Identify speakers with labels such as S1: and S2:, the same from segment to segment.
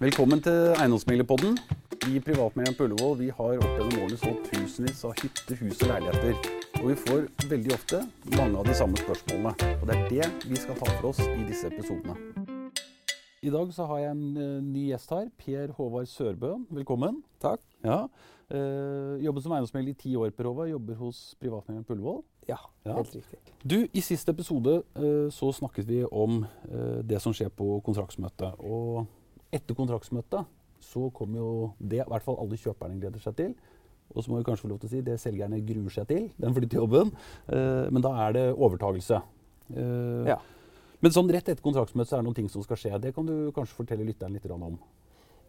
S1: Velkommen til Eiendomsmeglerpodden. Vi i Privatmegleren på Ullevål vi har opp gjennom årene solgt tusenvis av hytter, hus og leiligheter. Og vi får veldig ofte mange av de samme spørsmålene. Og det er det vi skal ta for oss i disse episodene. I dag så har jeg en eh, ny gjest her. Per Håvard Sørbø. Velkommen.
S2: Takk.
S1: Ja. Eh, jobber som eiendomsmegler i ti år, Per Håvard. Jobber hos Privatmegleren på Ullevål.
S2: Ja,
S1: Ja.
S2: helt riktig.
S1: Du, I siste episode eh, så snakket vi om eh, det som skjer på kontraktsmøtet. Og etter kontraktsmøtet så kommer jo det i hvert fall alle kjøperne gleder seg til. Og så må vi kanskje få lov til å si det selgerne gruer seg til, den flyttejobben. Eh, men da er det overtagelse. Eh,
S2: Ja.
S1: Men sånn rett etter kontraktsmøtet så er det noen ting som skal skje. Det kan du kanskje fortelle lytteren litt grann om.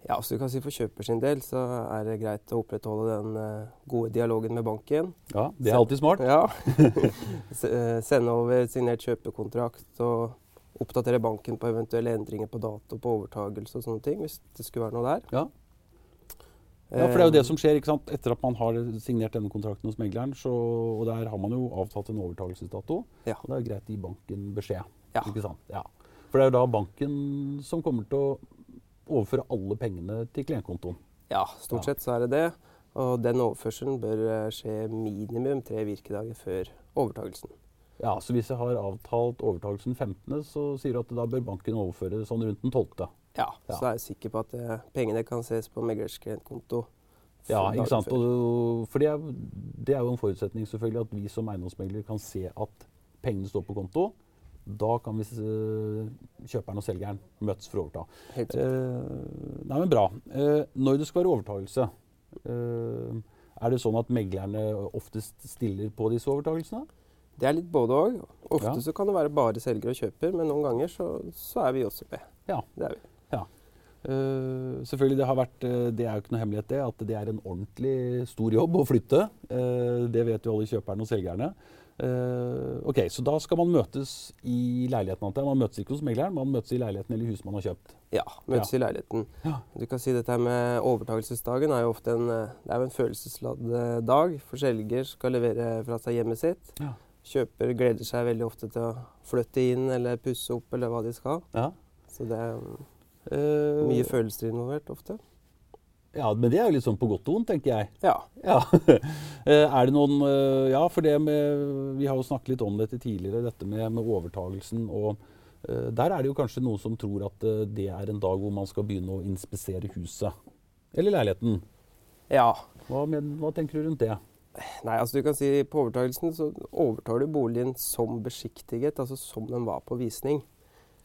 S2: Ja, så du kan si For kjøper sin del så er det greit å opprettholde den eh, gode dialogen med banken.
S1: Ja, Det er alltid smart.
S2: Ja. S- eh, Sende over signert kjøpekontrakt og oppdatere banken på eventuelle endringer på dato på overtagelse og sånne ting, hvis det skulle være noe der.
S1: Ja. Ja, for det er jo det
S2: Eh,
S1: som skjer. ikke sant? Etter at man har signert denne kontrakten hos megleren, så, og der har man jo avtalt en overtakelsesdato,
S2: Ja.
S1: og det er jo greit å gi banken beskjed.
S2: Ja.
S1: ikke sant? Ja. For det er jo da banken som kommer til å overføre alle pengene til klientkontoen.
S2: Eh, Ja, stort
S1: Ja.
S2: sett så er det det. Og den overførselen bør eh, skje minimum tre virkedager før overtagelsen.
S1: Ja, Så hvis jeg har avtalt overtakelsen 15., så sier du at da bør banken overføre sånn rundt den 12.
S2: Ja,
S1: Ja.
S2: Så er jeg sikker på at eh, pengene kan ses på meglers klientkonto.
S1: Ja,
S2: dagen
S1: ikke sant?
S2: før.
S1: Og, for det er, det er jo en forutsetning selvfølgelig at vi som eiendomsmegler kan se at pengene står på konto. Da kan vi s- kjøperen og selgeren møtes for å overta.
S2: Helt riktig.
S1: Eh, nei, men bra. Eh, når det skal være overtagelse, eh, er det sånn at meglerne oftest stiller på disse overtagelsene?
S2: Det er litt både òg. Ofte
S1: Ja.
S2: så kan det være bare selger og kjøper, men noen ganger så, så er vi også med.
S1: Ja.
S2: Det er vi.
S1: Eh, selvfølgelig, det har vært, eh, det er jo ikke noe hemmelighet det, at det er en ordentlig stor jobb å flytte. Eh, det vet jo alle kjøperne og selgerne. Eh, ok, Så da skal man møtes i leiligheten? antar jeg. Man møtes ikke hos megleren, man møtes i leiligheten eller huset man har kjøpt.
S2: Ja, møtes i leiligheten.
S1: Ja.
S2: Du kan si dette her med overtakelsesdagen er jo ofte en, eh, det er jo en følelsesladd eh, dag. For selger skal levere fra seg hjemmet sitt.
S1: Ja.
S2: Kjøper gleder seg veldig ofte til å flytte inn eller pusse opp eller hva de skal.
S1: Ja.
S2: Så det er mm,
S1: Eh,
S2: mye følelser involvert ofte.
S1: ja, Men det er jo litt sånn på godt og vondt, tenker jeg.
S2: Ja.
S1: Ja. Eh, Er det noen eh, Ja, for det med Vi har jo snakket litt om dette tidligere, dette med, med overtagelsen og eh, Der er det jo kanskje noen som tror at eh, det er en dag hvor man skal begynne å inspisere huset. Eller leiligheten.
S2: ja.
S1: Hva, men, hva tenker du rundt det?
S2: Nei, altså du kan si På overtagelsen så overtar du boligen som beskiktiget, altså som den var på visning.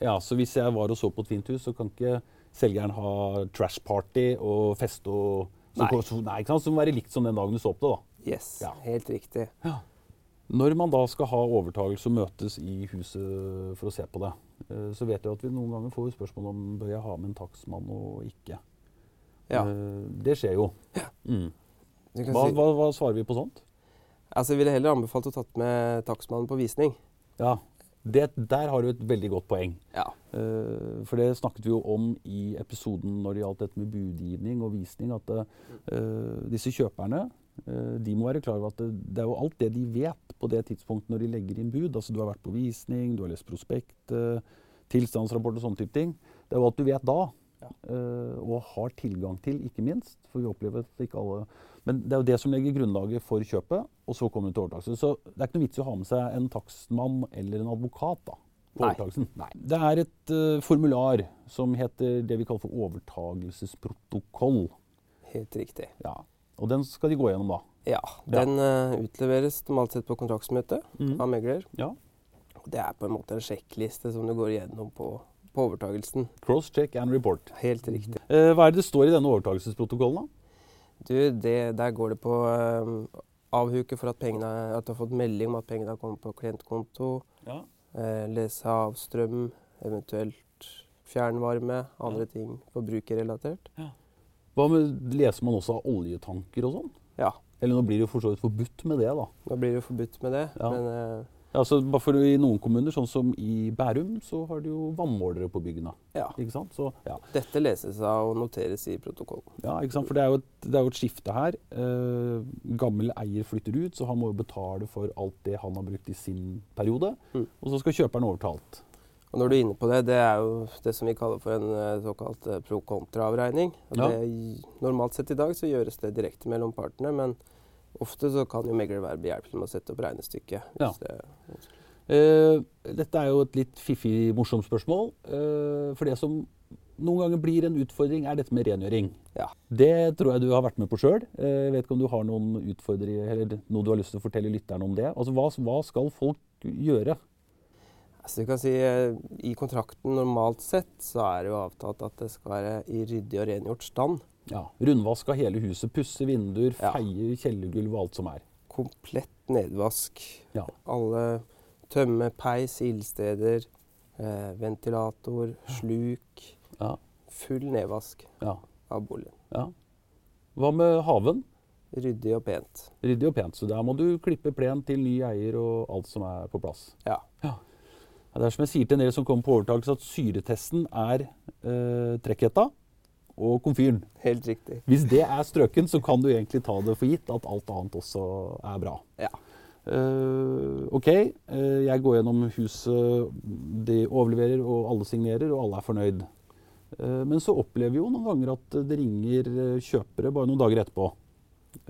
S1: Ja, så hvis jeg var og så på et fint hus, så kan ikke selgeren ha trash party og feste og som,
S2: Nei.
S1: Nei, ikke sant? Som må være likt som den dagen du så på det, da.
S2: Yes,
S1: Ja.
S2: helt riktig.
S1: Når man da skal ha overtagelse og møtes i huset for å se på det, eh, så vet jeg at vi noen ganger får spørsmål om bør jeg ha med en takstmann og ikke.
S2: Ja,
S1: Eh, Det skjer jo. Mm.
S2: du kan
S1: Hva,
S2: si.
S1: hva, hva svarer vi på sånt?
S2: Altså, jeg ville heller anbefalt å tatt med takstmannen på visning.
S1: Ja, det, Der har du et veldig godt poeng.
S2: Ja.
S1: Eh, For det snakket vi jo om i episoden når det gjaldt dette med budgivning og visning, at eh, disse kjøperne eh, de må være klar over at det, det er jo alt det de vet på det tidspunktet når de legger inn bud. Altså Du har vært på visning, du har lest prospekt, eh, tilstandsrapport og sånne type ting. Det er jo alt du vet da.
S2: Ja.
S1: eh, og har tilgang til, ikke minst. For vi opplever at ikke alle Men det er jo det som legger grunnlaget for kjøpet, og så kommer det til overtakelse. Så det er ikke noe vits i å ha med seg en takstmann eller en advokat da, på
S2: Nei.
S1: overtakelsen. Det er et eh, formular som heter det vi kaller for overtagelsesprotokoll.
S2: Helt riktig.
S1: Ja. Og den skal de gå gjennom, da.
S2: Ja,
S1: Ja.
S2: Den eh, utleveres normalt sett på kontraktsmøte
S1: Mm.
S2: av megler.
S1: Ja.
S2: Og Det er på en måte en sjekkliste som du går igjennom på, på overtagelsen.
S1: Cross-check and report.
S2: Helt riktig.
S1: Eh, hva er det det står i denne overtagelsesprotokollen, da?
S2: Du, det, der går det på eh, avhuke for at, pengene, at du har fått melding om at pengene har kommet på klientkonto.
S1: Ja.
S2: Eh, lese av strøm, eventuelt fjernvarme, andre ting forbrukerrelatert.
S1: Hva med, Leser man også av oljetanker og sånn?
S2: Ja,
S1: Eller nå blir det jo for så vidt forbudt med det, da.
S2: nå blir det jo forbudt med det,
S1: Ja.
S2: men eh,
S1: Ja, så bare for I noen kommuner, sånn som i Bærum, så har de jo vannmålere på byggene.
S2: ja.
S1: Ikke sant? Så, ja.
S2: Dette leses av og noteres i protokollen.
S1: ja, ikke sant? For det er jo et, det er jo et skifte her. Eh, gammel eier flytter ut, så han må jo betale for alt det han har brukt i sin periode.
S2: Mm.
S1: Og så skal kjøperen overta alt.
S2: Og når du er inne på det, det er jo det som vi kaller for en eh, såkalt eh, pro-kontra-avregning. Og
S1: Ja.
S2: det gi- Normalt sett i dag så gjøres det direkte mellom partene, men ofte så kan jo megler være behjelpelig med å sette opp regnestykket.
S1: Ja.
S2: hvis det-
S1: Eh, dette er jo et litt fiffig, morsomt spørsmål. Eh, for det som noen ganger blir en utfordring, er dette med rengjøring.
S2: Ja.
S1: Det tror jeg du har vært med på sjøl. Eh, jeg vet ikke om du har noen utfordringer, eller noe du har lyst til å fortelle lytterne om det. Altså, hva, hva skal folk gjøre?
S2: Altså du kan si eh, I kontrakten normalt sett så er det jo avtalt at det skal være i ryddig og rengjort stand.
S1: Ja, Rundvask av hele huset, pusse vinduer,
S2: Ja.
S1: feie kjellergulv og alt som er.
S2: Komplett nedvask.
S1: Ja.
S2: Alle tømme peis, ildsteder, eh, ventilator, sluk.
S1: Ja.
S2: Full nedvask
S1: Ja.
S2: av boligen.
S1: ja. Hva med haven?
S2: Ryddig og pent.
S1: Ryddig og pent. Så der må du klippe plen til ny eier og alt som er på plass.
S2: Ja.
S1: Ja, det er som jeg sier til en del som kommer på overtakelse, at syretesten er eh, trekkhetta og komfyren.
S2: Helt riktig.
S1: Hvis det er strøken, så kan du egentlig ta det for gitt at alt annet også er bra.
S2: Ja.
S1: Eh, OK, eh, jeg går gjennom huset, de overleverer, og alle signerer, og alle er fornøyd. Eh, men så opplever vi jo noen ganger at det ringer eh, kjøpere bare noen dager etterpå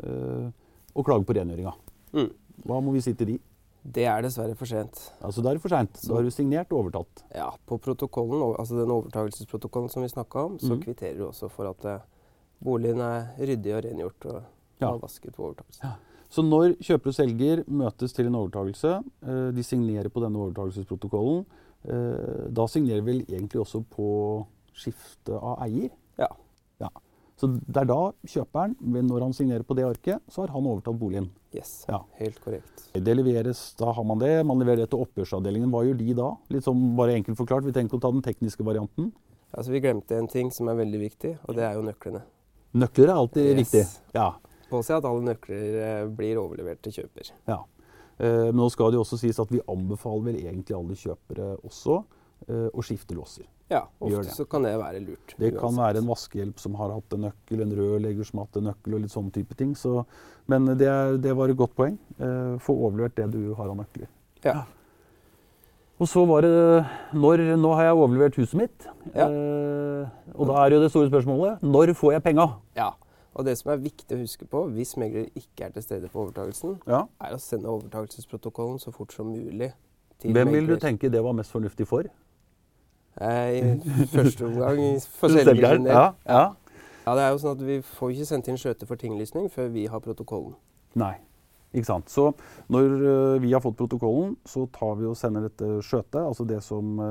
S1: eh, og klager på rengjøringa.
S2: Mm.
S1: Hva må vi si til de?
S2: Det er dessverre for sent.
S1: Altså, da er det for seint. Da har du signert og overtatt.
S2: Ja, på protokollen, og- altså den overtakelsesprotokollen som vi snakka om, så
S1: Mhm.
S2: kvitterer du også for at eh, boligen er ryddig og rengjort og
S1: Ja.
S2: vasket på overtakelse.
S1: Så når kjøper og selger møtes til en overtakelse, eh, de signerer på denne overtakelsesprotokollen, eh, da signerer vel egentlig også på skifte av eier?
S2: Ja.
S1: ja. Så det er da kjøperen, ved- når han signerer på det arket, så har han overtatt boligen.
S2: Yes,
S1: Ja.
S2: helt korrekt.
S1: Det leveres, da har man det. Man leverer det til oppgjørsavdelingen. Hva gjør de da? Litt sånn bare enkelt forklart. Vi tenker å ta den tekniske varianten.
S2: Altså Vi glemte en ting som er veldig viktig, og det er jo nøklene.
S1: Nøkler er alltid
S2: Yes.
S1: viktig. Ja.
S2: Påse at alle nøkler eh, blir overlevert til kjøper.
S1: Ja. Eh, Men nå skal det jo også sies at vi anbefaler vel egentlig alle kjøpere også eh, å skifte låser.
S2: Ja,
S1: Vi gjør
S2: Ofte
S1: det.
S2: så kan det være lurt.
S1: Det kan
S2: uansett.
S1: være en vaskehjelp som har hatt en nøkkel, en rørlegger som har hatt en nøkkel og litt sånne type ting. Så, men det, er- det var et godt poeng. Eh, Få overlevert det du har av nøkler.
S2: Ja.
S1: Og så var det når, Nå har jeg overlevert huset mitt.
S2: Ja.
S1: Eh, og da er jo det store spørsmålet når får jeg penga?
S2: ja. Og det som er viktig å huske på hvis megler ikke er til stede på overtakelsen,
S1: Ja.
S2: er å sende overtakelsesprotokollen så fort som mulig. til
S1: Hvem vil du
S2: megler.
S1: tenke det var mest fornuftig for?
S2: Eh, I første omgang for selger sin del.
S1: Ja, ja.
S2: Ja, det er jo sånn at Vi får ikke sendt inn skjøte for tinglysning før vi har protokollen.
S1: Nei. Ikke sant? Så når ø, vi har fått protokollen, så tar vi og sender dette skjøtet, altså det som ø,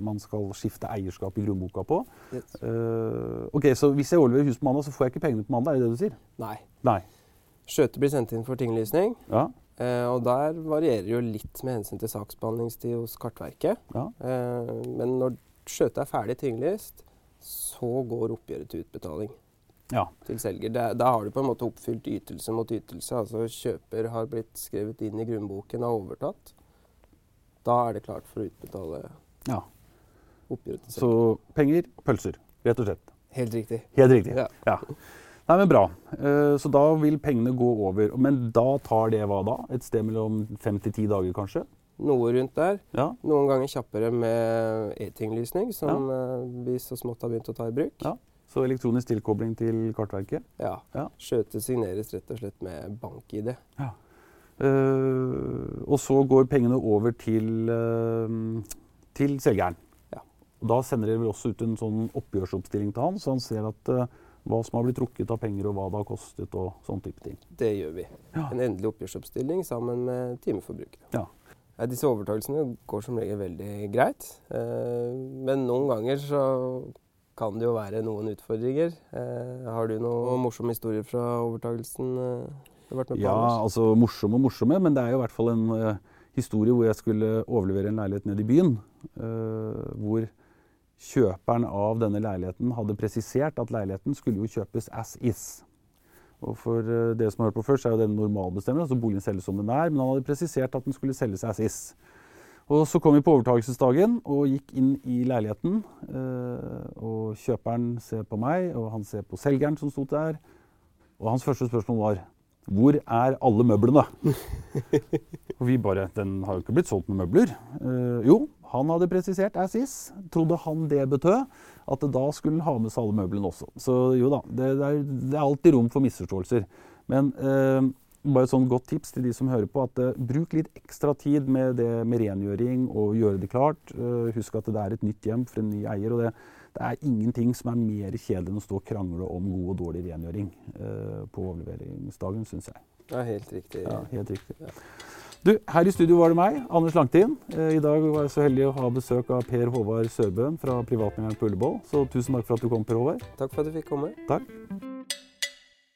S1: man skal skifte eierskap i grunnboka på. Eh, ok, Så hvis jeg overleverer huset på mandag, så får jeg ikke pengene på mandag? er det det du sier?
S2: Nei.
S1: Nei.
S2: Skjøte blir sendt inn for tinglysning,
S1: Ja,
S2: eh, og der varierer jo litt med hensyn til saksbehandlingstid hos Kartverket.
S1: ja.
S2: Eh, men når skjøtet er ferdig tinglyst, så går oppgjøret til utbetaling
S1: ja.
S2: til selger. Da, da har du på en måte oppfylt ytelse mot ytelse. Altså kjøper har blitt skrevet inn i grunnboken og overtatt. Da er det klart for å utbetale
S1: ja.
S2: oppgjøret til selger.
S1: Så penger, pølser. Rett og slett.
S2: Helt riktig.
S1: Helt riktig.
S2: Ja.
S1: Ja. Nei, men Bra. Eh, Så da vil pengene gå over. Men da tar det hva da? Et sted mellom fem til ti dager, kanskje?
S2: Noe rundt der.
S1: Ja.
S2: Noen ganger kjappere med e-tinglysning, som eh, vi så smått har begynt å ta i bruk.
S1: Ja. Så elektronisk tilkobling til Kartverket.
S2: Ja.
S1: Ja.
S2: Skjøte signeres rett og slett med bank-ID.
S1: Eh, og så går pengene over til, eh, til selgeren.
S2: Ja.
S1: Og Da sender dere vel også ut en sånn oppgjørsoppstilling til han, så han ser at eh, hva som har blitt trukket av penger, og hva det har kostet, og sånn type ting.
S2: Det gjør vi.
S1: Ja.
S2: En endelig oppgjørsoppstilling sammen med timeforbruket.
S1: Ja.
S2: Ja, disse overtakelsene går som regel veldig greit, eh, men noen ganger så kan det jo være noen utfordringer. Eh, har du noen morsomme historier fra overtakelsen eh, du har vært med på?
S1: Ja,
S2: Anders?
S1: altså morsomme og morsomme, men det er jo i hvert fall en eh, historie hvor jeg skulle overlevere en leilighet nede i byen, eh, hvor kjøperen av denne leiligheten hadde presisert at leiligheten skulle jo kjøpes as is. Og for eh, dere som har hørt på først, så er jo den normalbestemmer, altså boligen selges som den er, men han hadde presisert at den skulle selges as is. Og så kom vi på overtakelsesdagen og gikk inn i leiligheten. eh, Og kjøperen ser på meg, og han ser på selgeren som sto der. Og hans første spørsmål var hvor er alle møblene? Og vi bare Den har jo ikke blitt solgt med møbler. Eh, jo, Han hadde presisert assis. Trodde han det betød at da skulle han ha med seg alle møblene også. Så jo da, det, det, er, det er alltid rom for misforståelser. Men eh, bare et sånn godt tips til de som hører på, at eh, bruk litt ekstra tid med det med rengjøring og gjøre det klart. Eh, husk at det er et nytt hjem for en ny eier. og det, det er ingenting som er mer kjedelig enn å stå og krangle om god og dårlig rengjøring eh, på overleveringsdagen, syns jeg.
S2: Det er helt riktig.
S1: Ja, helt riktig. Du, her i studio var det meg, Anders Langtin. Eh, I dag var jeg så heldig å ha besøk av Per Håvard Sørbøen fra Privatmennene på Ullevål. Så tusen takk for at du kom, Per Håvard.
S2: Takk for at du fikk komme.
S1: Takk.